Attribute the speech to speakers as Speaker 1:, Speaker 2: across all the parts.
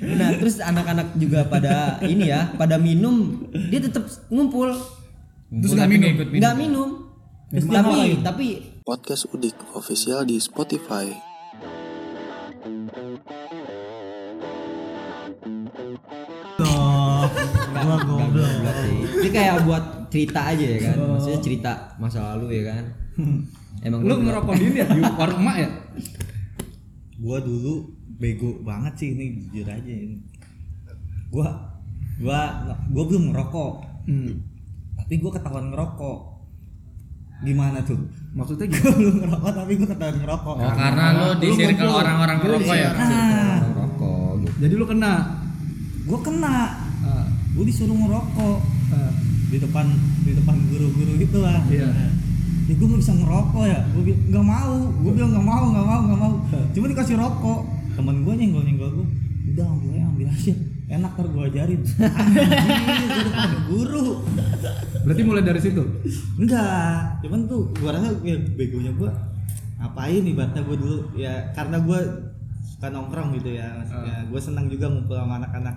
Speaker 1: Nah, terus anak-anak juga pada ini ya pada minum dia tetap ngumpul
Speaker 2: Terus nggak minum.
Speaker 3: ikut
Speaker 1: nggak minum tapi tapi
Speaker 4: Podcast Udik official di Spotify.
Speaker 5: Gua goblok.
Speaker 1: ini kayak buat cerita aja ya kan maksudnya cerita masa lalu ya kan emang
Speaker 3: Lu
Speaker 1: bener.
Speaker 3: ngerokok di ini ya di warung emak ya?
Speaker 5: Gua dulu bego banget sih ini jujur aja ini. Gua gua gua belum ngerokok,
Speaker 3: Hmm.
Speaker 5: tapi gua ketahuan ngerokok. Gimana tuh?
Speaker 3: Maksudnya
Speaker 5: Gua belum ngerokok tapi gua ketahuan ngerokok.
Speaker 3: Oh, karena lu di circle orang-orang ngerokok ya.
Speaker 5: Nah,
Speaker 1: rokok gitu.
Speaker 3: Jadi lu kena
Speaker 5: gua kena.
Speaker 3: Ah,
Speaker 5: Gua disuruh ngerokok
Speaker 3: ah.
Speaker 5: di depan di depan guru-guru gitu lah.
Speaker 3: Iya.
Speaker 5: ya gue gak bisa ngerokok ya gue bilang nggak mau
Speaker 3: Iya.
Speaker 5: gue bilang nggak mau nggak mau nggak mau
Speaker 3: Ah.
Speaker 5: cuma dikasih rokok temen gue nyenggol nyenggol gue udah ambil aja ambil aja enak ntar gue ajarin anjir gue depan guru
Speaker 3: Berarti mulai dari situ.
Speaker 5: enggak cuman tuh gue rasa ya begonya gue apain ibaratnya gue dulu ya karena gue suka nongkrong gitu ya maksudnya gue senang juga ngumpul sama anak-anak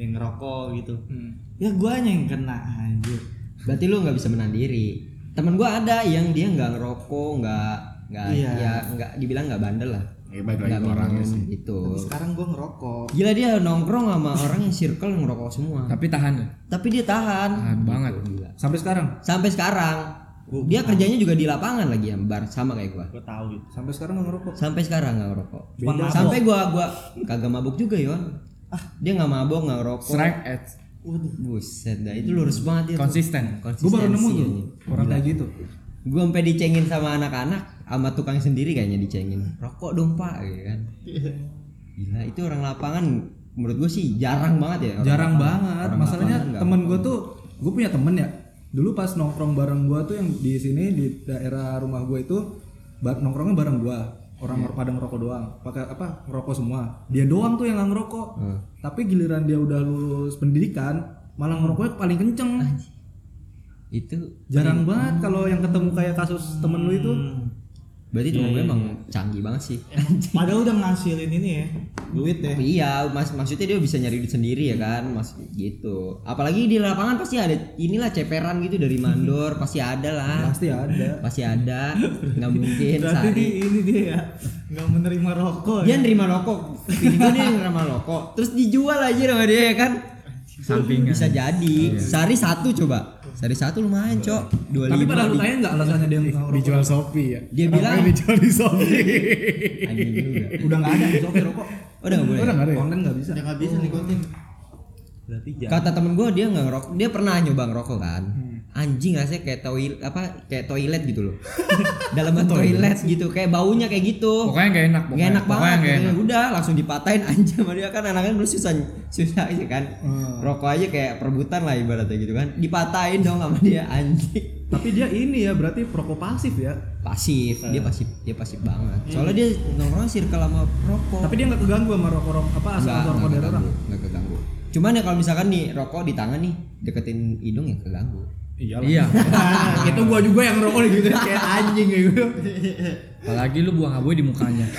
Speaker 5: yang ngerokok gitu
Speaker 3: Hmm.
Speaker 5: ya gue yang kena anjir
Speaker 1: berarti lu nggak bisa menahan diri temen gua ada yang dia nggak ngerokok nggak nggak
Speaker 5: Iya.
Speaker 1: ya nggak dibilang nggak bandel lah
Speaker 2: Ya baik lagi
Speaker 1: nggak
Speaker 2: ke orangnya
Speaker 1: minum
Speaker 2: sih.
Speaker 1: gitu
Speaker 5: tapi sekarang gue ngerokok
Speaker 1: gila dia nongkrong sama orang yang circle ngerokok semua
Speaker 3: Tapi tahan ya.
Speaker 1: tapi dia tahan
Speaker 3: Tahan banget.
Speaker 1: gila.
Speaker 3: Gitu, Sampai sekarang.
Speaker 1: sampai sekarang
Speaker 3: Oh,
Speaker 5: Gua-
Speaker 1: dia kerjanya juga di lapangan lagi ya bar sama kayak gua
Speaker 5: gue tahu itu
Speaker 3: Sampai sekarang nggak ngerokok.
Speaker 1: sampai sekarang nggak ngerokok
Speaker 5: Beda. Mabok.
Speaker 1: sampai gua gua kagak mabuk juga yon
Speaker 3: Ah.
Speaker 1: dia nggak mabok nggak ngerokok
Speaker 3: Strike at
Speaker 5: waduh
Speaker 1: buset dah itu lurus banget itu
Speaker 3: konsisten.
Speaker 1: Konsistensi
Speaker 3: Gue baru nemu tuh
Speaker 1: ini.
Speaker 3: orang kayak gitu.
Speaker 1: gua sampai dicengin sama anak-anak sama tukang sendiri kayaknya dicengin rokok dong pak gitu kan gila itu orang lapangan menurut gua sih jarang banget ya orang
Speaker 3: Jarang
Speaker 1: lapangan.
Speaker 3: banget.
Speaker 1: Orang
Speaker 3: Masalahnya
Speaker 1: lapangan nggak
Speaker 3: temen gue tuh, gue punya temen ya. Dulu pas nongkrong bareng gue tuh yang di sini di daerah rumah gue itu ba- nongkrongnya bareng gue. Orang pada ngerokok doang. Pakai apa? Ngerokok semua. Dia doang tuh yang nggak ngerokok.
Speaker 1: Hmm.
Speaker 3: Tapi giliran dia udah lulus pendidikan, malah ngerokoknya paling kenceng.
Speaker 5: Ah,
Speaker 1: itu
Speaker 3: Jarang banget kalau yang ketemu kayak kasus temen lu itu.
Speaker 1: berarti temen
Speaker 3: Iya,
Speaker 1: gue emang canggih banget sih
Speaker 5: Padahal udah ngasilin ini ya duit ya.
Speaker 1: Tapi iya, mas maksudnya dia bisa nyari duit sendiri ya kan, mas gitu. Apalagi di lapangan pasti ada inilah ceperan gitu dari mandor, pasti ada lah,
Speaker 3: Pasti ada.
Speaker 1: pasti ada, nggak mungkin.
Speaker 5: Berarti
Speaker 1: Sari.
Speaker 5: di, ini dia ya nggak menerima rokok
Speaker 1: Dia
Speaker 5: ya.
Speaker 1: nerima rokok, video dia nerima rokok, terus dijual aja sama dia ya kan.
Speaker 3: Sampingan. Iya.
Speaker 1: Bisa jadi, sehari satu coba, sehari satu lumayan cok, dua
Speaker 3: Tapi pada lu
Speaker 1: lima.
Speaker 3: tanya nggak alasannya dia nggak ngerokok?
Speaker 2: Dijual Shopee ya.
Speaker 1: Dia
Speaker 2: Apa
Speaker 1: bilang-
Speaker 2: yang dijual di Shopee.
Speaker 1: Anjing juga.
Speaker 3: Udah nggak ada, Shopee rokok.
Speaker 1: Udah nggak boleh.
Speaker 2: Udah nggak ada ya?
Speaker 3: Konten nggak bisa.
Speaker 5: nggak bisa nikotin. Berarti
Speaker 3: Ya.
Speaker 5: jangan.
Speaker 1: Kata temen gue dia nggak ngerokok, dia pernah nyoba ngerokok kan.
Speaker 3: Hmm.
Speaker 1: Anjing rasanya kayak toilet apa kayak toilet gitu loh. Dalaman toilet gitu, kayak baunya kayak gitu.
Speaker 3: Oh, Pokoknya nggak enak.
Speaker 1: Gak enak banget.
Speaker 3: Pokoknya
Speaker 1: gitu. Udah langsung dipatahin anjing sama dia kan anaknya dulu susah susah aja kan.
Speaker 3: Hmm.
Speaker 1: Rokok aja kayak perebutan lah ibaratnya gitu kan. Dipatahin dong sama dia anjing.
Speaker 3: Tapi dia ini ya berarti perokok pasif ya.
Speaker 1: Pasif, dia
Speaker 3: Hmm.
Speaker 1: pasif, dia pasif banget. Soalnya dia nongkrong circle sama rokok.
Speaker 3: Iya. Tapi dia nggak keganggu sama rokok-rokok apa asal
Speaker 1: Nggak,
Speaker 3: rokok
Speaker 1: nggak
Speaker 3: dari orang.
Speaker 1: keganggu, nggak keganggu. Cuman ya kalau misalkan nih rokok di tangan nih deketin hidung ya keganggu.
Speaker 3: Iya. itu gua juga yang rokok gitu kayak anjing
Speaker 1: ya,
Speaker 3: gitu. Apalagi lu buang abu di mukanya.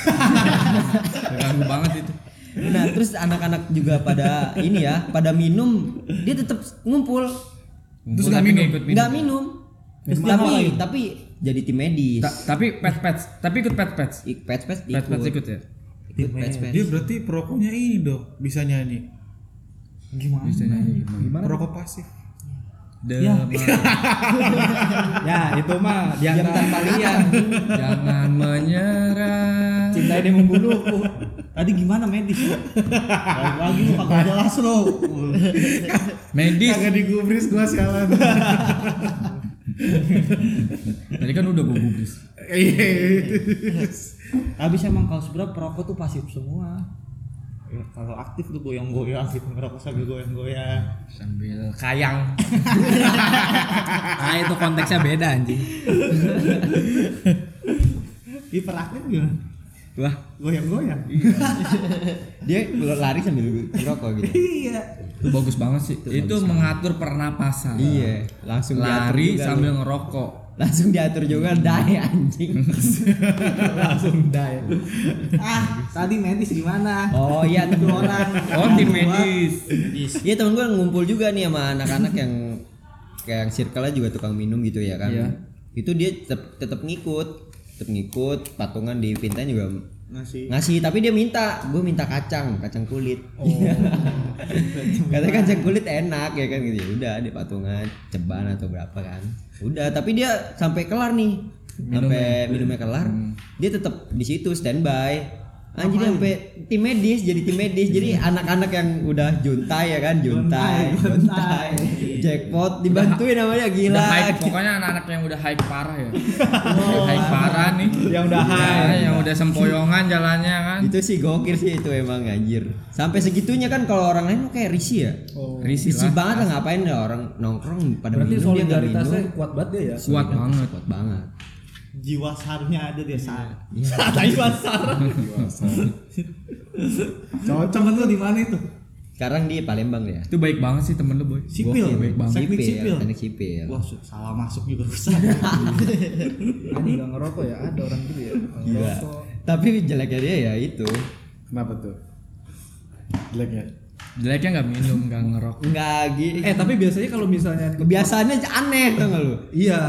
Speaker 3: Ganggu banget itu.
Speaker 1: Nah, terus anak-anak juga pada ini ya, pada minum, dia tetap ngumpul.
Speaker 2: Terus nggak minum.
Speaker 1: Nggak minum. tapi tapi jadi tim medis.
Speaker 3: tapi pet pet tapi ikut pet pet
Speaker 1: Ik- Pets-pets ikut.
Speaker 3: ya.
Speaker 1: Ikut pets-pets.
Speaker 2: Dia berarti perokoknya ini dong, bisa nyanyi.
Speaker 5: Gimana?
Speaker 3: Gimana?
Speaker 2: Perokok pasif.
Speaker 5: Ya.
Speaker 3: Demam.
Speaker 5: ya itu mah dia
Speaker 1: Diam tanpa lihat.
Speaker 3: Jangan menyerah.
Speaker 5: cinta dia membunuhku. Tadi gimana medis? Balik lagi lu kagak jelas lo.
Speaker 3: Medis.
Speaker 2: Kagak digubris gua sialan.
Speaker 3: Tadi kan udah gue gubris.
Speaker 2: Iya.
Speaker 5: Habis emang kalau seberat perokok tuh pasif semua. Ya, kalau aktif tuh goyang-goyang gitu ngerokok sambil goyang-goyang.
Speaker 3: Sambil kayang. ah itu konteksnya beda anjing.
Speaker 5: Hiperaktif gimana?
Speaker 3: Wah,
Speaker 5: Goyang-goyang.
Speaker 1: Dia lari sambil ngerokok gitu.
Speaker 5: Iya.
Speaker 3: itu bagus banget sih. Itu, mengatur pernapasan.
Speaker 1: iya, langsung diatur
Speaker 3: Lari
Speaker 1: juga
Speaker 3: sambil ngerokok.
Speaker 1: langsung diatur juga dai anjing
Speaker 3: langsung die
Speaker 5: ah tadi medis gimana
Speaker 1: oh iya
Speaker 5: Itu
Speaker 1: temen
Speaker 5: orang
Speaker 6: Oh tim medis.
Speaker 1: iya temen gue ngumpul juga nih sama anak-anak yang kayak yang circle juga tukang minum gitu ya kan
Speaker 6: Iya.
Speaker 1: itu dia tetap tetap ngikut tetap ngikut patungan di Vintan juga
Speaker 5: masih
Speaker 1: ngasih tapi dia minta gue minta kacang kacang kulit katanya kacang kulit enak ya kan gitu ya udah di patungan ceban atau berapa kan udah tapi dia sampai kelar nih sampai minumnya kelar
Speaker 6: Hmm.
Speaker 1: dia tetap di situ standby anjir dia sampai tim medis jadi tim medis jadi
Speaker 6: Iya.
Speaker 1: anak-anak yang udah juntai ya kan juntai
Speaker 5: Juntai,
Speaker 1: juntai jackpot dibantuin sama dia gila
Speaker 6: Udah hype, pokoknya anak-anak yang udah hype parah ya. hype parah nih.
Speaker 3: Yang udah
Speaker 6: Ya,
Speaker 3: hype.
Speaker 6: yang udah sempoyongan jalannya kan.
Speaker 1: itu sih gokil sih itu emang anjir sampai segitunya kan kalau orang lain tuh kayak risih ya
Speaker 6: Risih
Speaker 1: Risih
Speaker 6: lah.
Speaker 1: banget lah ngapain ya orang nongkrong pada
Speaker 3: Oh, berarti
Speaker 1: minum dia nggak minum.
Speaker 3: solidaritasnya kuat banget dia ya
Speaker 6: Kuat banget.
Speaker 1: kuat banget.
Speaker 5: jiwa sarnya ada
Speaker 6: Iya.
Speaker 5: dia sar saat jiwa sar
Speaker 3: cocok kan lu di mana itu
Speaker 1: Sekarang di Palembang ya.
Speaker 6: Itu baik banget sih temen lu boy.
Speaker 5: sipil
Speaker 6: Gokil, iya, baik banget. ya.
Speaker 5: teknik sipil
Speaker 6: kan.
Speaker 1: teknik sipil.
Speaker 5: wah su- salah masuk juga rusak
Speaker 3: kamu nggak ngerokok ya ada orang gitu ya
Speaker 2: Iya.
Speaker 1: Gila. Tapi jeleknya dia ya itu.
Speaker 2: Kenapa tuh? Jeleknya.
Speaker 6: Jeleknya nggak minum, nggak ngerokok.
Speaker 1: Enggak gitu.
Speaker 3: eh tapi biasanya kalau misalnya
Speaker 1: kebiasaannya aneh tau gak lu?
Speaker 3: iya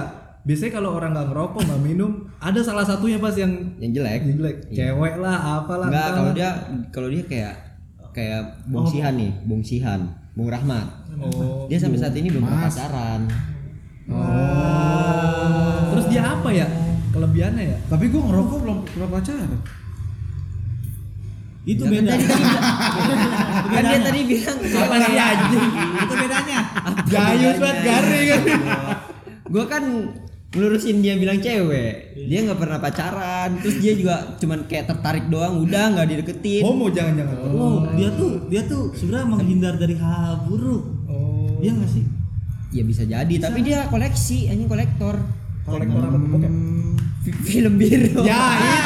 Speaker 3: biasanya kalau orang nggak ngerokok nggak minum ada salah satunya pas yang
Speaker 1: Yang jelek.
Speaker 3: jelek
Speaker 1: Iya.
Speaker 3: cewek lah apalah
Speaker 1: Enggak,
Speaker 3: entahlah.
Speaker 1: kalau dia kalau dia kayak kayak Bung Sihan nih, Bung Sihan, Bung Rahmat.
Speaker 3: oh
Speaker 1: Dia sampai saat ini belum pernah pacaran.
Speaker 3: terus dia apa ya kelebihannya ya
Speaker 2: Tapi gua ngerokok belum pernah pacaran.
Speaker 5: itu
Speaker 6: Iya,
Speaker 5: beda
Speaker 1: Kan dia tadi bilang
Speaker 5: apa sih anjing itu bedanya
Speaker 1: Gayus
Speaker 6: Iya,
Speaker 1: banget garing kan. Gua kan ngelurusin dia bilang cewek.
Speaker 2: Iya.
Speaker 1: Dia nggak pernah pacaran, terus dia juga cuman kayak tertarik doang, udah nggak dideketin.
Speaker 3: homo jangan-jangan
Speaker 5: wow Oh, dia tuh dia tuh sebenarnya menghindar dari hal buruk
Speaker 3: oh
Speaker 5: iya nggak sih
Speaker 1: Ya bisa jadi, tapi dia koleksi, anjing kolektor.
Speaker 3: kolektor apa tuh bokep
Speaker 1: Fi- Film biru.
Speaker 2: Ya,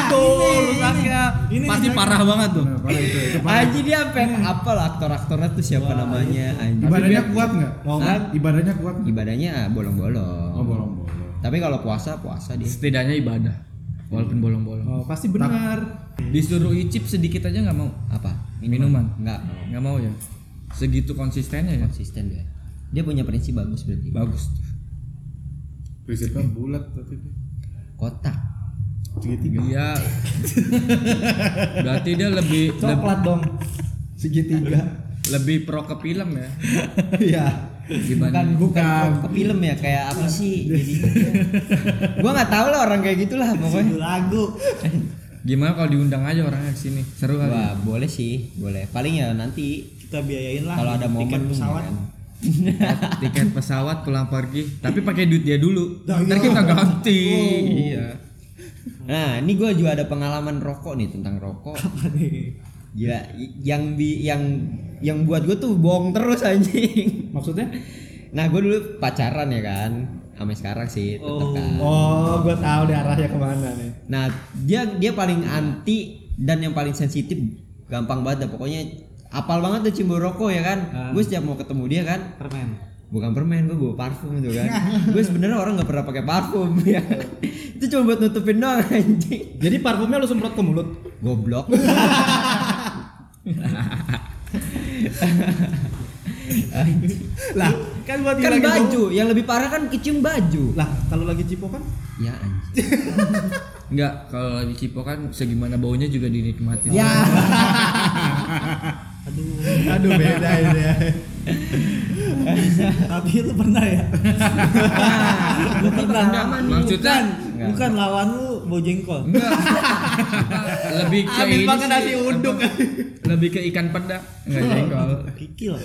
Speaker 6: itu rusaknya. Pasti parah banget tuh.
Speaker 1: Anjing dia apa? Apa lah aktor-aktornya tuh siapa namanya? Anjing.
Speaker 2: iya. Ibadahnya
Speaker 3: ya?
Speaker 2: kuat nggak?
Speaker 1: Hah?
Speaker 2: Ibadahnya kuat nggak?
Speaker 1: Ibadahnya ah, bolong-bolong.
Speaker 2: Oh,
Speaker 1: Tapi kalau puasa puasa dia.
Speaker 6: Setidaknya ibadah, walaupun bolong-bolong.
Speaker 3: oh pasti benar
Speaker 6: Disuruh icip sedikit aja nggak mau.
Speaker 1: Apa?
Speaker 6: Minuman.
Speaker 1: Enggak
Speaker 6: Nggak mau ya. Segitu konsistennya ya.
Speaker 1: konsisten dia. Dia punya prinsip bagus berarti.
Speaker 6: Bagus. tuh.
Speaker 2: Prinsipnya bulat tapi dia.
Speaker 1: Kotak.
Speaker 2: segitiga.
Speaker 6: Dia Iya. berarti dia lebih lebih,
Speaker 3: coklat dong segitiga
Speaker 6: lebih pro ke film ya
Speaker 3: iya
Speaker 1: bukan
Speaker 6: dibanding
Speaker 1: bukan ke film ya kayak apa sih jadi gua nggak tahu lah orang kayak gitulah pokoknya
Speaker 5: Itu lagu
Speaker 6: gimana kalau diundang aja orangnya ke sini seru kali.
Speaker 1: wah boleh sih boleh paling ya nanti
Speaker 5: kita biayain lah
Speaker 1: kalau ada
Speaker 5: tiket
Speaker 1: momen
Speaker 5: pesawat
Speaker 1: kan.
Speaker 6: tiket pesawat pulang pergi tapi pakai duit dia dulu ntar kita ganti iya
Speaker 1: nah ini gua juga ada pengalaman rokok nih tentang rokok ya i- yang bi yang yang buat gue tuh bohong terus anjing
Speaker 3: maksudnya
Speaker 1: nah gue dulu pacaran ya kan sama sekarang sih tetep kan
Speaker 3: oh gue tahu deh arahnya kemana nih
Speaker 1: Nah, dia dia paling anti dan yang paling sensitif gampang banget dah. pokoknya apal banget tuh Cimboroko ya kan.
Speaker 3: Ah.
Speaker 1: Gue setiap mau ketemu dia kan,
Speaker 5: permen
Speaker 1: bukan permen gue bawa parfum tuh kan. gue sebenarnya orang nggak pernah pakai parfum ya. Itu cuma buat nutupin doang anjing.
Speaker 3: jadi parfumnya lu semprot ke mulut
Speaker 1: Goblok.
Speaker 3: lah kan buat
Speaker 1: kan baju, yang lebih parah kan kecium baju.
Speaker 3: lah kalau lagi kan, cipokan
Speaker 1: Ya anjing.
Speaker 6: nggak kalau lagi cipo kan segimana baunya juga dinikmati
Speaker 1: Ya.
Speaker 2: Aduh beda ini ya.
Speaker 5: tapi itu pernah ya lu pernah
Speaker 6: Enggak, maksudnya
Speaker 5: bukan, bukan lawan lu bau jengkol
Speaker 6: enggak lebih ke
Speaker 3: Habis
Speaker 6: ini
Speaker 3: makan
Speaker 6: sih,
Speaker 3: nasi uduk.
Speaker 6: apa, lebih ke ikan peda enggak jengkol
Speaker 5: kikil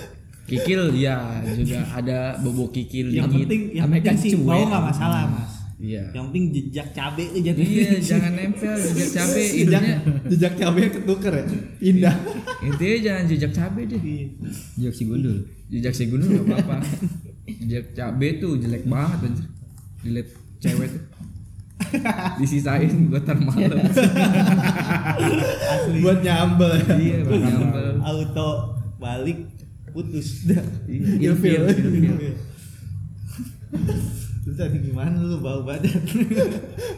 Speaker 6: kikil ya juga ada bobo kikil
Speaker 5: yang
Speaker 6: dingin.
Speaker 5: penting yang
Speaker 1: Sama
Speaker 5: penting
Speaker 1: ikan
Speaker 5: sih
Speaker 1: cuek.
Speaker 5: bau nggak masalah mas
Speaker 6: iya
Speaker 5: yang penting jejak cabe tuh jadi
Speaker 6: iya jangan nempel jejak cabe intinya
Speaker 3: jejak cabenya ketuker ya indah
Speaker 6: intinya ya, jangan jejak cabe deh
Speaker 2: Iya.
Speaker 1: Jok si gundul.
Speaker 6: jejak si gunung nggak apa-apa jejak cabe tuh jelek banget anjir jelek cewek tuh disisain buat ntar malam
Speaker 3: buat nyambel
Speaker 6: iya buat nyambel
Speaker 5: auto balik putus dah
Speaker 6: Ilfil, ilfil.
Speaker 5: lu tadi gimana lu bau badan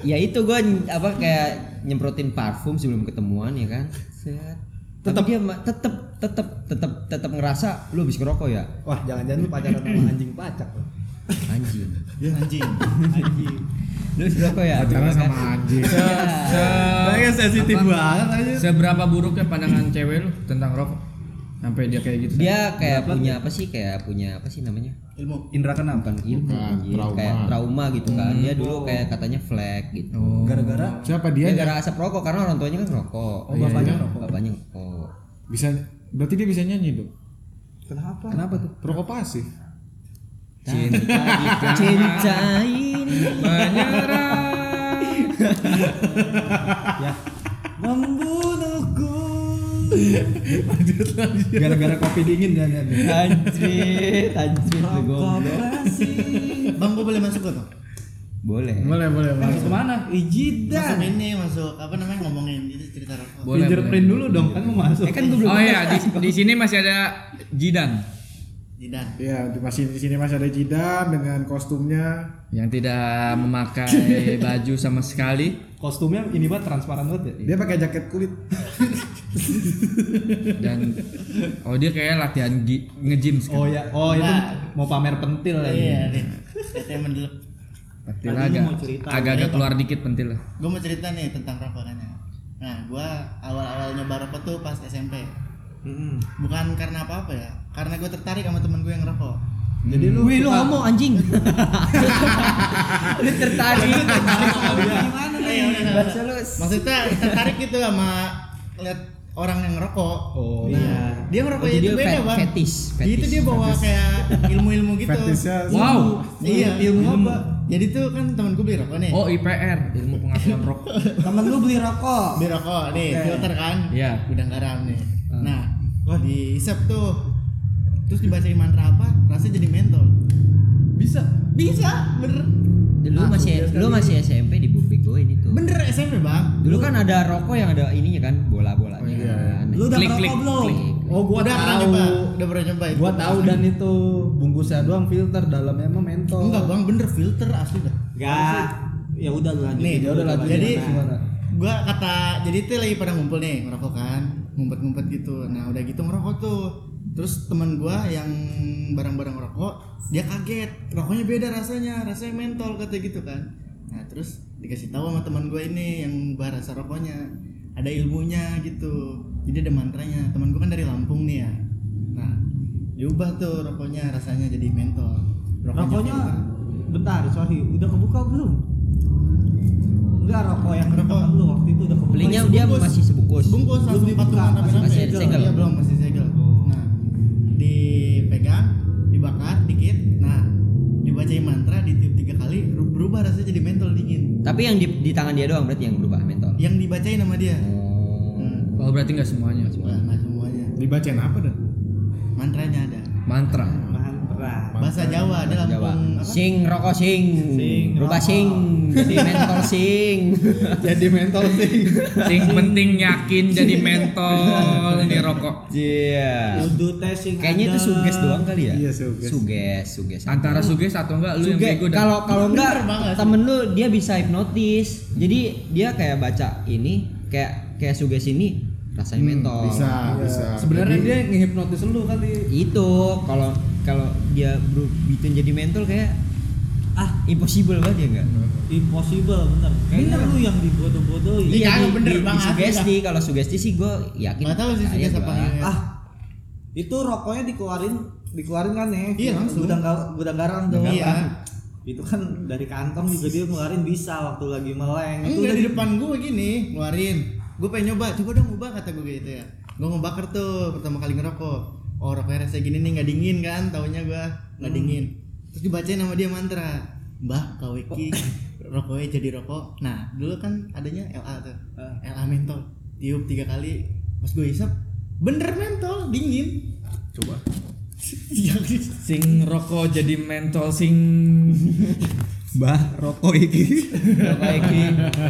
Speaker 1: ya itu gue apa kayak nyemprotin parfum sebelum ketemuan ya kan Set. tetap dia ma- tetep tetep tetep tetep ngerasa lu habis ngerokok ya
Speaker 3: Wah, jangan-jangan lu pacaran sama anjing pacak. lu.
Speaker 1: anjing
Speaker 5: ya anjing anjing
Speaker 1: lu habis ngerokok ya
Speaker 2: Pacaran
Speaker 1: Gitu kan.
Speaker 2: sama anjing.
Speaker 3: Kayaknya sensitif
Speaker 6: apa?
Speaker 3: banget aja.
Speaker 6: Seberapa buruknya pandangan cewek lu tentang rokok? Sampai dia kayak gitu.
Speaker 1: dia kayak punya apa sih kayak punya apa sih namanya
Speaker 5: ilmu
Speaker 3: Indra kenapa?
Speaker 1: bukan
Speaker 7: Iya
Speaker 1: ilmu
Speaker 2: Bukan,
Speaker 7: kan,
Speaker 1: Iya, anjir.
Speaker 2: trauma.
Speaker 1: kayak trauma gitu kan
Speaker 7: Hmm.
Speaker 1: dia dulu kayak katanya flag gitu
Speaker 6: Oh.
Speaker 3: Gara-gara
Speaker 2: Siapa
Speaker 1: dia
Speaker 2: dia?
Speaker 6: Iya.
Speaker 1: gara asap rokok karena orang tuanya kan rokok
Speaker 3: Oh, bapaknya rokok.
Speaker 1: bapaknya rokok
Speaker 2: Bisa berarti dia bisa nyanyi dong.
Speaker 5: kenapa
Speaker 3: kenapa tuh?
Speaker 2: Perokok pasif.
Speaker 6: Cinta
Speaker 7: kan.
Speaker 6: kita
Speaker 1: cinta ini
Speaker 6: menyerah.
Speaker 5: membunuhku
Speaker 3: Gara-gara kopi dingin dan
Speaker 1: anjir anjir lu
Speaker 5: rokok
Speaker 1: goblok.
Speaker 5: kasih
Speaker 7: Bang, gua boleh masuk gak tuh?
Speaker 1: boleh
Speaker 6: Boleh, boleh, boleh.
Speaker 3: Masuk kemana?
Speaker 7: Masuk
Speaker 5: ijidan
Speaker 7: ini, masuk apa namanya ngomongin itu cerita rokok.
Speaker 6: Boleh,
Speaker 3: Finger
Speaker 6: boleh.
Speaker 3: print dulu dong, kan mau masuk.
Speaker 1: eh kan gue belum
Speaker 6: Oh iya, di, di sini masih ada Jidan
Speaker 7: Jidan.
Speaker 2: Ya, di masih di sini masih ada Jidan dengan kostumnya.
Speaker 6: yang tidak memakai baju sama sekali
Speaker 3: Kostumnya ini banget transparan banget ya.
Speaker 2: Dia pakai jaket kulit.
Speaker 6: dan oh dia kayak latihan gi- nge-gym sekarang.
Speaker 3: Oh ya, oh itu
Speaker 7: Nah.
Speaker 3: mau pamer pentil ya.
Speaker 7: Iya, Rin. Katanya mendelep.
Speaker 6: pentil
Speaker 5: Tadi
Speaker 6: agak
Speaker 5: lu mau cerita.
Speaker 6: agak keluar dikit pentil lah.
Speaker 7: Gua mau cerita nih tentang rokok kan ya. Nah, gua awal-awal nyoba rokok tuh pas SMP. Bukan karena apa-apa ya, karena gue tertarik sama temen gue yang ngerokok.
Speaker 3: Jadi lu
Speaker 1: Wih lu homo anjing. lu tertarik.
Speaker 7: Gimana nih?
Speaker 1: Bahasa lu s-
Speaker 7: Maksudnya tertarik gitu sama lihat orang yang ngerokok.
Speaker 3: Oh,
Speaker 7: Nah, Dia ngerokok
Speaker 1: Oh,
Speaker 7: itu
Speaker 1: jadi dia
Speaker 7: beda,
Speaker 1: fe-
Speaker 7: Bang.
Speaker 1: fetis,
Speaker 7: Jadi itu
Speaker 1: fetis,
Speaker 7: dia bawa kayak ilmu-ilmu gitu.
Speaker 2: Fetisnya
Speaker 6: Wow.
Speaker 7: Iya,
Speaker 3: Ilmu
Speaker 7: ilmu
Speaker 3: apa?
Speaker 7: apa? Jadi tuh kan temen gue beli rokok nih.
Speaker 6: Oh IPR, ilmu pengasuhan rokok.
Speaker 3: temen lu beli rokok.
Speaker 7: Beli rokok nih, filter kan.
Speaker 6: Iya.
Speaker 7: Gudang garam nih. Nah, wah dihisap tuh. Terus dibacain mantra apa? Rasanya jadi mentol.
Speaker 3: Bisa.
Speaker 7: Bisa, bener.
Speaker 1: Dulu masih lu masih SMP di begoin itu.
Speaker 7: Bener SMP, Bang.
Speaker 1: Dulu kan ada rokok yang ada ininya kan, bola-bolanya kan.
Speaker 3: Lu udah
Speaker 6: Klik,
Speaker 3: ngerokok
Speaker 6: klik,
Speaker 3: belum?
Speaker 1: klik.
Speaker 3: Oh, gua
Speaker 7: udah pernah
Speaker 3: tahu.
Speaker 7: nyoba, udah pernah nyoba itu.
Speaker 3: Gua tahu dan itu bungkusnya doang filter, dalamnya emang mentol.
Speaker 7: Enggak, Bang, bener filter asli dah.
Speaker 5: enggak ya udah lu lanjut
Speaker 7: Nih,
Speaker 3: Ya udah lanjut.
Speaker 7: Jadi
Speaker 3: gimana?
Speaker 7: gua kata jadi itu lagi pada ngumpul nih ngerokok kan ngumpet-ngumpet gitu nah udah gitu ngerokok tuh terus teman gua yang barang-barang ngerokok dia kaget rokoknya beda rasanya rasanya mentol kata gitu kan nah terus dikasih tahu sama teman gua ini yang ubah rasa rokoknya ada ilmunya gitu jadi ada mantranya teman gua kan dari Lampung nih ya nah diubah tuh rokoknya rasanya jadi mentol
Speaker 5: rokoknya
Speaker 7: filter.
Speaker 5: bentar sorry udah kebuka belum enggak rokok yang
Speaker 7: Rokok.
Speaker 5: rokok lu waktu itu udah kebuka
Speaker 1: Belinya
Speaker 5: Sebungkus.
Speaker 1: dia masih sebungkus.
Speaker 7: bungkus langsung patungan
Speaker 1: masih- masih segel.
Speaker 7: rame-rame.
Speaker 1: Oh.
Speaker 7: Iya, belum masih segel nah dipegang dibakar dikit nah dibacain mantra ditiup tiga kali ru- berubah rasanya jadi mentol dingin
Speaker 1: Tapi yang di, di tangan dia doang berarti yang berubah
Speaker 5: Iya.
Speaker 1: mentol.
Speaker 7: yang dibacain sama dia hmm.
Speaker 6: Oh berarti nggak semuanya.
Speaker 7: Wah, nggak semuanya
Speaker 2: dibacain apa dah?
Speaker 7: mantranya ada
Speaker 6: Hmm. Mantra.
Speaker 5: mantra
Speaker 7: bahasa Jawa ada
Speaker 1: Jawa.
Speaker 7: Lampung apa?
Speaker 1: Sing rokok sing. berubah sing. Jadi mentol sing.
Speaker 3: Jadi mentol sih.
Speaker 6: Sing penting yakin jadi mentol ini rokok.
Speaker 1: Iya.
Speaker 5: Udu tes yang
Speaker 1: Kayaknya itu
Speaker 5: ada.
Speaker 1: suges doang kali ya?
Speaker 2: Iya, suges.
Speaker 1: Suges, suges.
Speaker 6: Antara suges atau enggak lu yang
Speaker 1: Suge,
Speaker 6: bego dan
Speaker 1: kalau kalau enggak
Speaker 7: Bener banget.
Speaker 1: temen lu dia bisa hipnotis. Jadi dia kayak baca ini kayak kayak suges ini rasanya mentol.
Speaker 2: Hmm, Bisa,
Speaker 1: Iya.
Speaker 2: bisa.
Speaker 3: Sebenarnya dia ngehipnotis lu kali.
Speaker 1: Itu kalau kalau dia bro bikin jadi mentol kayak ah impossible banget ya enggak?
Speaker 2: Iya,
Speaker 5: impossible bener kayaknya lu yang dibodoh-bodohin
Speaker 7: Iya, bener banget.
Speaker 1: sugesti kalau sugesti sih gua yakin.
Speaker 7: nggak tahu sih
Speaker 1: percaya
Speaker 7: suges apa
Speaker 1: Nah, iya, gua.
Speaker 7: enggak ya.
Speaker 5: ah itu rokoknya dikeluarin dikeluarin kan ya
Speaker 7: Iya, langsung.
Speaker 5: gudang ga- gudang garam tuh
Speaker 7: Iya.
Speaker 5: itu kan dari kantong juga dia ngeluarin bisa waktu lagi meleng itu
Speaker 6: Iya.
Speaker 7: enggak
Speaker 5: udah
Speaker 7: di depan gue gini ngeluarin gue pengen nyoba coba dong ubah kata gue gitu ya gue ngebakar tuh pertama kali ngerokok oh rokoknya rasanya gini nih nggak dingin kan taunya gue nggak
Speaker 6: Hmm.
Speaker 7: dingin terus dibacain sama dia mantra mbah kaweki rokoknya jadi rokok nah dulu kan adanya LA tuh
Speaker 6: Ah.
Speaker 7: LA mentol tiup tiga kali pas gue isap bener mentol dingin
Speaker 6: coba.
Speaker 7: Yang di-
Speaker 6: Sing rokok jadi mentol sing
Speaker 3: Mbah, rokok iki.
Speaker 1: Rokok iki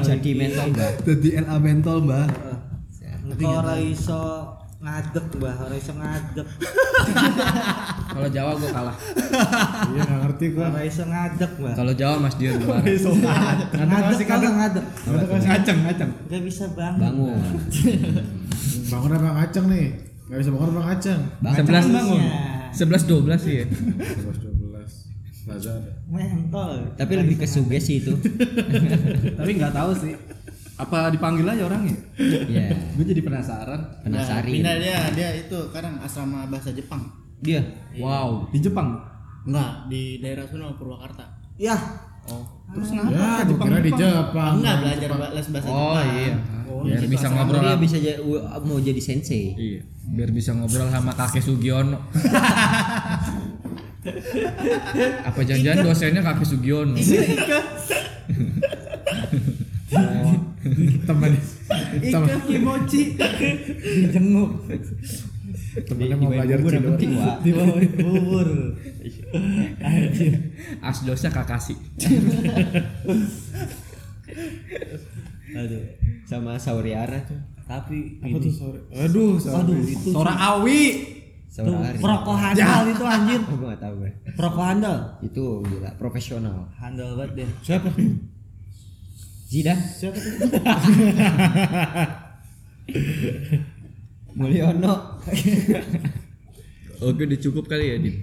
Speaker 1: jadi mentol enggak?
Speaker 3: Jadi LA mentol, Mbah.
Speaker 5: kalau iso ngadek mbah orang iso ngadek
Speaker 6: Kalau Jawa gue kalah.
Speaker 2: Iya nggak ngerti gua.
Speaker 5: orang iso ngadek mbah
Speaker 6: Kalau Jawa Mas Dion gimana?
Speaker 5: ngadek kalau ngadek
Speaker 3: Ngaceng, ngaceng.
Speaker 5: nggak bisa bangun
Speaker 1: Bangun.
Speaker 2: Bangun apa ngaceng nih? Gak bisa bangun apa ngaceng?
Speaker 6: Sebelas bangun.
Speaker 5: Iya.
Speaker 6: Sebelas dua belas sih ya.
Speaker 2: 11 12 Lazada.
Speaker 5: mentol
Speaker 1: Tapi lebih ke sugesti itu.
Speaker 3: Tapi nggak tahu sih. Apa dipanggil aja orangnya?
Speaker 1: Iya.
Speaker 3: Gue jadi penasaran.
Speaker 1: Penasarin.
Speaker 7: Nah, pindah dia dia itu kadang asrama bahasa Jepang
Speaker 2: Iya.
Speaker 1: Dia.
Speaker 6: Wow.
Speaker 3: Di Jepang.
Speaker 7: enggak di daerah sono Purwakarta
Speaker 5: ya
Speaker 3: Terus ngapa?
Speaker 2: Ya, gua kira di Jepang.
Speaker 7: enggak belajar ba- les bahasa
Speaker 6: Ah, Oh
Speaker 7: Jepang
Speaker 6: iya.
Speaker 7: Oh,
Speaker 6: Biar
Speaker 7: di situ
Speaker 6: bisa
Speaker 7: asrama.
Speaker 6: ngobrol.
Speaker 1: Dia
Speaker 6: sama-
Speaker 1: Iya, bisa ja- mau jadi sensei.
Speaker 6: Iya. Biar bisa ngobrol sama kakek Sugiono. Apa janjian dosennya kakek Sugiono?
Speaker 5: Iya,
Speaker 6: Oh.
Speaker 2: Temen. Temen.
Speaker 5: kimochi dijenguk
Speaker 2: Temennya mau Iya, belajar Cina.
Speaker 5: di bawah bubur
Speaker 6: Asdosnya kakasi.
Speaker 1: Aduh. Sama Sauriara tuh.
Speaker 5: tapi
Speaker 2: Apa tuh sore? Aduh,
Speaker 5: aduh
Speaker 2: sorry.
Speaker 5: itu
Speaker 3: Sora Awi.
Speaker 5: tuh
Speaker 1: Sauriari.
Speaker 5: perokok handal itu anjir
Speaker 1: Oh, gue gak tau gue.
Speaker 5: perokok handal
Speaker 1: Itu gila profesional.
Speaker 5: handal banget deh
Speaker 2: Siapa?
Speaker 1: Zidan. Mulyono.
Speaker 6: Oke, udah cukup kali ya, Din.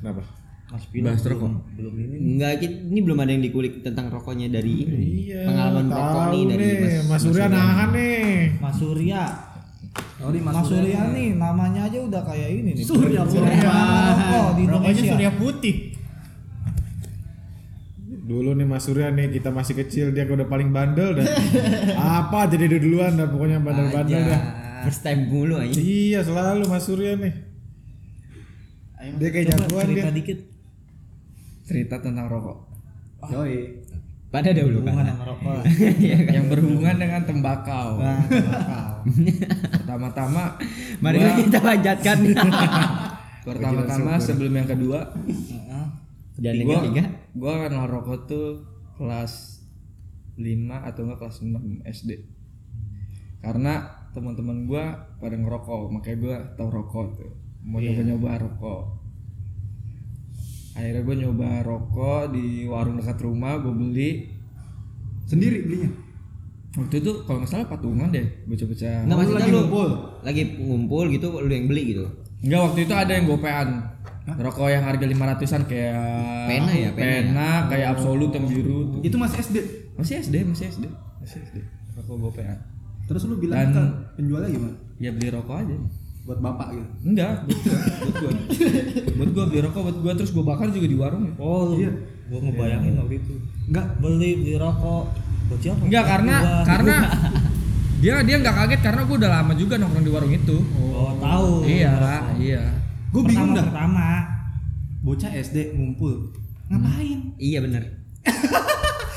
Speaker 2: Kenapa?
Speaker 5: Mas
Speaker 6: Bahas rokok.
Speaker 5: belum ini
Speaker 1: Enggak, ini belum ada yang dikulik tentang rokoknya dari ini.
Speaker 2: Iya.
Speaker 1: Pengalaman merokok
Speaker 2: tahu
Speaker 1: nih dari
Speaker 2: nih. Mas Surya nahan nih.
Speaker 5: Mas Surya
Speaker 3: Sorry Mas,
Speaker 5: Mas Surya nih namanya aja udah kayak ini nih
Speaker 3: Surya
Speaker 5: Surya rokok di
Speaker 7: rokoknya
Speaker 5: Indonesia
Speaker 7: Surya Putih
Speaker 2: Dulu nih Mas Surya nih kita masih kecil dia udah paling bandel dan apa jadi dia duluan dah pokoknya bandel-bandel dah.
Speaker 1: First time mulu aja.
Speaker 2: Iya selalu Mas Surya nih.
Speaker 7: Ayo,
Speaker 2: Dia kayak
Speaker 5: Coba
Speaker 2: jagoan dia.
Speaker 5: cerita dikit
Speaker 6: Cerita tentang rokok.
Speaker 3: Yoi.
Speaker 1: Pada dahulu kan.
Speaker 5: hubungan sama rokok
Speaker 1: Iya kan.
Speaker 6: yang berhubungan dengan tembakau.
Speaker 5: Nah, bakal.
Speaker 6: Pertama-tama,
Speaker 1: Mari
Speaker 6: gua-
Speaker 1: kita panjatkan.
Speaker 6: pertama-tama sebelum yang kedua,
Speaker 1: Dan yang
Speaker 6: gua
Speaker 1: ketiga,
Speaker 6: gua kenal rokok tuh kelas 5 atau enggak kelas 6 SD. Karena teman-teman gua pada ngerokok, makanya gua tahu rokok tuh. Mau
Speaker 1: Iya.
Speaker 6: nyoba-nyoba rokok. Akhirnya gua nyoba rokok di warung dekat rumah, gua beli.
Speaker 3: Sendiri belinya.
Speaker 6: Waktu itu kalau nggak salah patungan deh, bocah-bocah.
Speaker 1: nggak Nah, maksudnya
Speaker 3: lagi
Speaker 1: lu
Speaker 3: ngumpul.
Speaker 1: lagi ngumpul gitu, lu yang beli gitu.
Speaker 6: Enggak waktu itu ada yang gopean Rokok yang harga 500an kayak
Speaker 1: Pena ya, pena ya?
Speaker 6: pena, kayak absolut yang biru tuh.
Speaker 3: Oh. Itu masih SD.
Speaker 6: Masih SD, masih SD, masih SD. Rokok gopean.
Speaker 3: Terus lu bilang
Speaker 6: Dan-
Speaker 3: ke penjualnya gimana?
Speaker 6: Ya beli rokok aja.
Speaker 3: Buat bapak gitu.
Speaker 6: Enggak, buat gua, buat gua. buat gua beli rokok buat gua terus gua bakar juga di warung ya.
Speaker 5: oh lu
Speaker 3: Iya.
Speaker 5: gua ngebayangin waktu itu
Speaker 3: Enggak.
Speaker 5: beli beli rokok buat siapa
Speaker 6: Enggak karena
Speaker 5: Gua.
Speaker 6: karena dia dia nggak kaget karena gua udah lama juga nongkrong di warung itu.
Speaker 5: oh tahu
Speaker 6: iya, iya.
Speaker 3: Gue bingung dah.
Speaker 5: pertama
Speaker 3: Bocah SD ngumpul. Ngapain?
Speaker 1: Iya bener.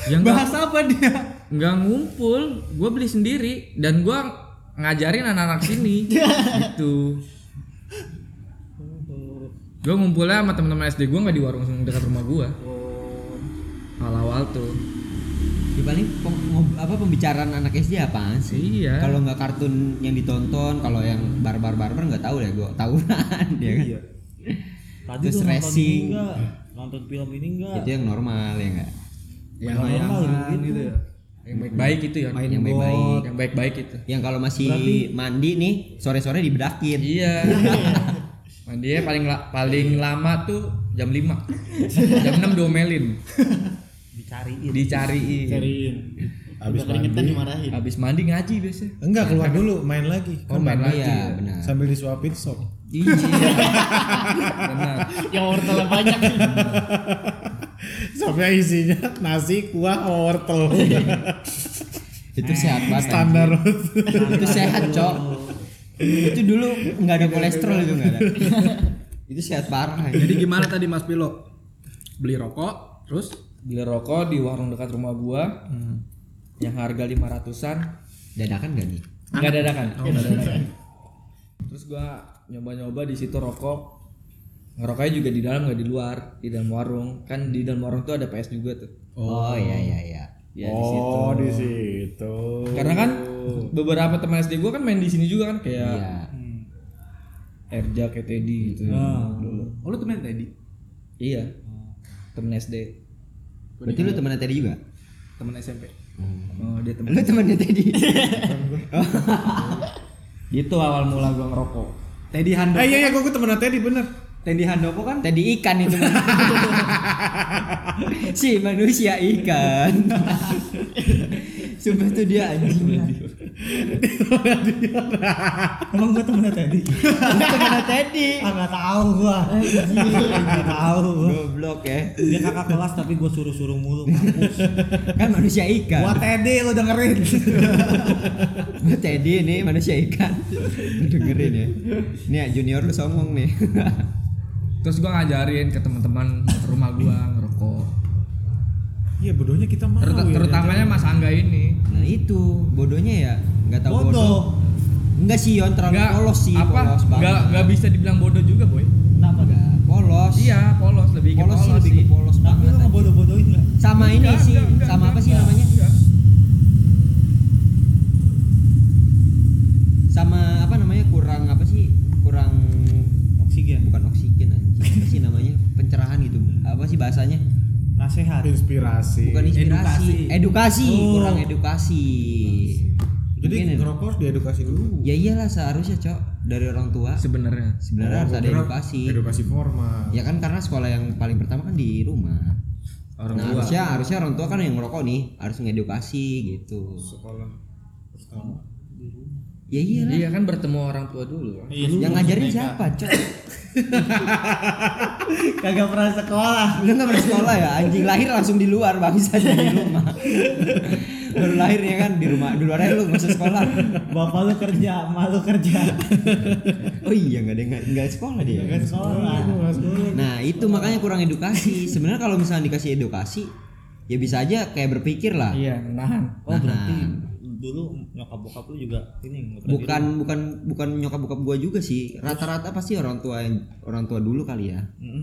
Speaker 6: Ya enggak-
Speaker 3: Bahas apa dia?
Speaker 6: nggak ngumpul gue beli sendiri dan gue ngajarin anak-anak sini gitu gue ngumpulnya sama teman-teman SD gue nggak di warung dekat rumah gue awal-awal tuh
Speaker 1: Di Ya, paling pem- ngob- apa pembicaraan anak SD apaan sih?
Speaker 6: iya
Speaker 1: Kalau nggak kartun yang ditonton, kalau yang barbar barbar nggak tahu deh gua tawuran ya kan.
Speaker 5: Iya. tadi
Speaker 1: Terus
Speaker 5: lu nonton
Speaker 1: racing.
Speaker 5: ini enggak nonton film ini enggak
Speaker 1: Itu yang normal ya enggak?
Speaker 6: yang
Speaker 5: normal gitu ya
Speaker 6: yang baik-baik itu ya
Speaker 1: Main
Speaker 6: yang
Speaker 1: bot.
Speaker 6: baik-baik yang baik-baik itu
Speaker 1: Yang kalau masih mandi nih sore-sore dibedakin.
Speaker 6: iya mandinya paling la- paling lama tuh jam 5 jam 6 domelin
Speaker 5: dicariin
Speaker 6: dicariin
Speaker 7: cariin
Speaker 2: Habis
Speaker 7: udah keringetan
Speaker 2: mandi.
Speaker 7: dimarahin
Speaker 6: habis mandi ngaji biasanya
Speaker 1: Nah.
Speaker 2: Enggak keluar dulu main lagi.
Speaker 6: oh main lagi
Speaker 5: ya?
Speaker 1: Iya benar.
Speaker 2: Sambil disuapin sok.
Speaker 6: iya benar
Speaker 7: yang wortelnya banyak
Speaker 2: Sampai isinya nasi, kuah, sama wortel.
Speaker 1: Itu sehat banget.
Speaker 2: Standar.
Speaker 1: itu sehat cok itu dulu nggak ada kolesterol itu nggak ada itu sehat parah
Speaker 3: Jadi gimana tadi Mas Pilo? Beli rokok, terus Hmm.
Speaker 6: beli rokok di warung dekat rumah gua yang harga 500-an
Speaker 1: dadakan gak nih
Speaker 6: nggak dadakan nggak dadakan. terus gua nyoba-nyoba di situ rokok ngerokoknya juga di dalam nggak di luar di dalam warung kan di dalam warung tuh ada PS juga tuh
Speaker 1: oh iya iya iya
Speaker 6: ya di situ
Speaker 2: Oh, di situ.
Speaker 3: Ya.
Speaker 6: karena kan beberapa teman SD gua kan main di sini juga kan kayak
Speaker 1: Iya.
Speaker 3: Iya.
Speaker 6: Erja kayak Teddy gitu
Speaker 2: Ah.
Speaker 6: dulu.
Speaker 3: Oh, lu temen Teddy?
Speaker 6: Iya. Temen SD.
Speaker 1: Berarti lu temennya tadi juga?
Speaker 3: Temen SMP.
Speaker 6: Oh, dia temen.
Speaker 1: Lu temennya tadi.
Speaker 6: Gitu awal mula gua ngerokok.
Speaker 3: Teddy Handoko.
Speaker 2: Eh iya iya gue temen Teddy bener.
Speaker 3: Teddy Handoko kan
Speaker 1: tadi ikan itu. si manusia ikan. Sumpah tuh dia anjing.
Speaker 5: Emang gua temennya tadi?
Speaker 1: Lu temennya tadi.
Speaker 5: ah nggak tahu gua. Nggak tahu gua.
Speaker 1: Goblok ya.
Speaker 5: Dia kakak kelas tapi gua suruh-suruh mulu mampus.
Speaker 1: Kan manusia ikan.
Speaker 5: Gua Teddy lu dengerin.
Speaker 1: Lu Teddy ini manusia ikan. Lu dengerin ya. Nih ya, junior lu songong nih.
Speaker 6: Terus gua ngajarin ke teman-teman rumah gua ngerokok.
Speaker 2: Iya bodohnya kita mau.
Speaker 6: Terut-
Speaker 2: ya,
Speaker 6: terutamanya Mas Angga ini.
Speaker 1: nah itu bodohnya ya nggak tahu bodoh.
Speaker 5: Bodoh.
Speaker 1: Enggak sih Yon terlalu
Speaker 6: Nggak-
Speaker 1: polos sih
Speaker 6: apa?
Speaker 1: polos banget.
Speaker 6: Nggak- nggak bisa dibilang bodoh juga, Boy.
Speaker 5: Kenapa?
Speaker 1: Nggak, polos.
Speaker 6: Iya, polos lebih ke
Speaker 1: Polos sih lebih ke polos
Speaker 5: Tapi
Speaker 1: banget.
Speaker 5: lu
Speaker 1: anjing.
Speaker 5: ngebodoh-bodohin nggak?
Speaker 1: Sama ini
Speaker 6: Nggak,
Speaker 1: sih,
Speaker 6: nggak, nggak,
Speaker 1: sama apa
Speaker 6: nggak,
Speaker 1: sih
Speaker 6: nggak,
Speaker 1: namanya?
Speaker 6: nggak.
Speaker 1: Sama apa namanya? Kurang apa sih? Kurang
Speaker 5: Oksigen.
Speaker 1: bukan oksigen anjing. Apa sih namanya? Pencerahan gitu. Apa sih bahasanya?
Speaker 5: Nasehat.
Speaker 2: Inspirasi.
Speaker 1: Bukan inspirasi, edukasi,
Speaker 5: Oh.
Speaker 1: kurang edukasi.
Speaker 2: Jadi
Speaker 1: Mungkin ya.
Speaker 2: ngerokok harus diedukasi dulu.
Speaker 1: Ya iyalah seharusnya, Cok, dari orang tua.
Speaker 6: Sebenarnya.
Speaker 1: Sebenarnya harus
Speaker 2: gua
Speaker 1: ada
Speaker 2: kira
Speaker 1: edukasi.
Speaker 2: Edukasi formal.
Speaker 1: Ya kan karena sekolah yang paling pertama kan di rumah.
Speaker 6: Orang
Speaker 1: nah,
Speaker 6: tua.
Speaker 1: harusnya harusnya orang tua kan yang ngerokok nih, harus ngedukasi gitu.
Speaker 2: Sekolah pertama.
Speaker 1: Ya iyalah.
Speaker 6: Iya kan bertemu orang tua dulu.
Speaker 5: Iya,
Speaker 1: yang ngajarin siapa, Cok?
Speaker 5: Kagak pernah sekolah.
Speaker 1: Lu nggak pernah sekolah ya? Anjing lahir langsung di luar, bangsa di rumah. Baru lahir ya kan di rumah. Di luar aja lu nggak usah sekolah.
Speaker 5: Bapak lu kerja, emak lu kerja.
Speaker 1: Oh iya nggak ada nggak- nggak sekolah dia.
Speaker 5: Kagak sekolah.
Speaker 1: Nah itu makanya kurang edukasi. Sebenarnya kalau misalnya dikasih edukasi, ya bisa aja kayak berpikir lah.
Speaker 6: Iya, menahan.
Speaker 5: Oh berarti
Speaker 1: Nah.
Speaker 5: dulu nyokap bokap lu juga ini nggak pernah
Speaker 1: Bukan bukan bukan nyokap bokap gua juga sih. Rata-rata pasti orang tua yang orang tua dulu kali ya.
Speaker 5: di- Mm-mm.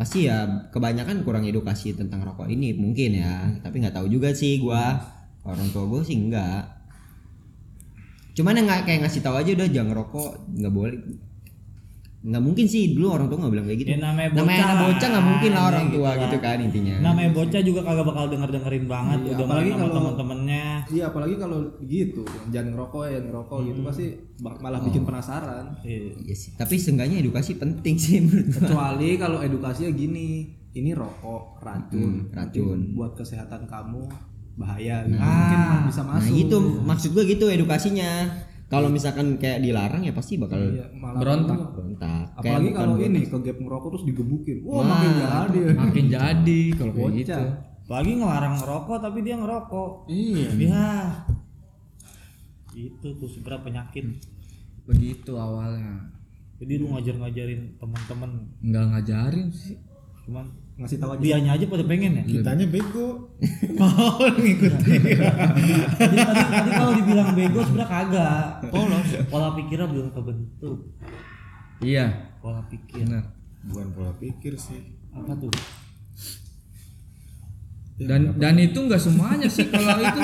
Speaker 1: Pasti ya kebanyakan kurang edukasi tentang rokok ini mungkin ya. Tapi nggak tahu juga sih gua. Orang tua gua sih enggak. Cuman yang nggak- kayak ngasih tahu aja udah jangan ngerokok, nggak boleh. Nggak mungkin sih dulu orang tua nggak bilang kayak gitu.
Speaker 5: Ya, namanya
Speaker 1: anak
Speaker 5: bocah.
Speaker 1: bocah nggak mungkin lah orang
Speaker 5: Gitu
Speaker 1: tua
Speaker 5: lah.
Speaker 1: gitu kan intinya.
Speaker 5: Namanya bocah juga kagak bakal denger dengerin banget.
Speaker 3: Iya,
Speaker 5: Udah
Speaker 3: apalagi
Speaker 5: main sama
Speaker 3: kalau-
Speaker 5: temen-temennya.
Speaker 3: Iya, apalagi kalau gitu, jangan ngerokok ya, ngerokok gitu
Speaker 5: Hmm.
Speaker 3: pasti bak- malah bikin penasaran.
Speaker 5: Iya.
Speaker 1: Iya sih, tapi seenggaknya edukasi penting sih menurut gua.
Speaker 3: Kecuali kalau edukasinya gini, ini rokok
Speaker 1: Hmm,
Speaker 3: racun,
Speaker 1: racun.
Speaker 3: Tapi buat kesehatan kamu bahaya. gitu. Mungkin malah bisa
Speaker 1: Nah
Speaker 3: masuk.
Speaker 1: itu maksud gue gitu edukasinya. Kalau misalkan kayak dilarang ya pasti bakal
Speaker 3: Iya, malah
Speaker 6: Berontak.
Speaker 1: berontak. Kayak
Speaker 3: Apalagi
Speaker 1: bukan
Speaker 3: kalau
Speaker 1: buat-
Speaker 3: ini ke gap ngerokok terus digebukin. Wah, makin jadi.
Speaker 6: Makin jadi kalau kayak gitu.
Speaker 3: Bocah.
Speaker 5: Apalagi ngelarang ngerokok tapi dia ngerokok.
Speaker 7: Iya.
Speaker 5: Ya. Itu tuh seberat penyakit.
Speaker 6: Begitu awalnya.
Speaker 5: Jadi lu ngajar-ngajarin temen-temen
Speaker 6: Nggak ngajarin sih.
Speaker 5: cuman
Speaker 3: Ngasih tahu aja.
Speaker 5: dianya aja pada pengen ya.
Speaker 2: Kitanya bego.
Speaker 5: Jadi tadi, tadi kalau dibilang bego sebenernya kagak. Polos. Pola pikirnya belum kebentuk.
Speaker 6: Iya,
Speaker 5: Pola pikir.
Speaker 6: benar.
Speaker 2: Bukan pola pikir sih.
Speaker 5: Apa tuh?
Speaker 6: Dan dan itu nggak semuanya sih kalau itu.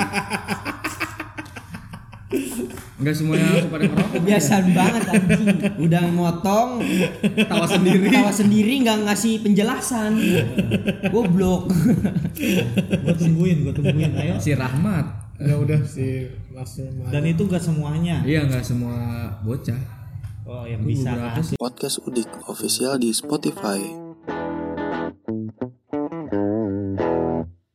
Speaker 6: Nggak semuanya langsung pada ngerokok.
Speaker 1: kebiasaan banget anjing. Udah motong tawa sendiri. Tawa sendiri nggak ngasih penjelasan.
Speaker 3: Iya.
Speaker 1: Goblok.
Speaker 5: Gua tungguin, gua tungguin. Ayo.
Speaker 6: Si Rahmat.
Speaker 2: Ya udah sih langsung
Speaker 5: Dan itu gak semuanya.
Speaker 6: Iya nggak semua bocah.
Speaker 5: Oh yang bisa.
Speaker 6: Beberapa sih.
Speaker 4: Podcast Udik Official di Spotify.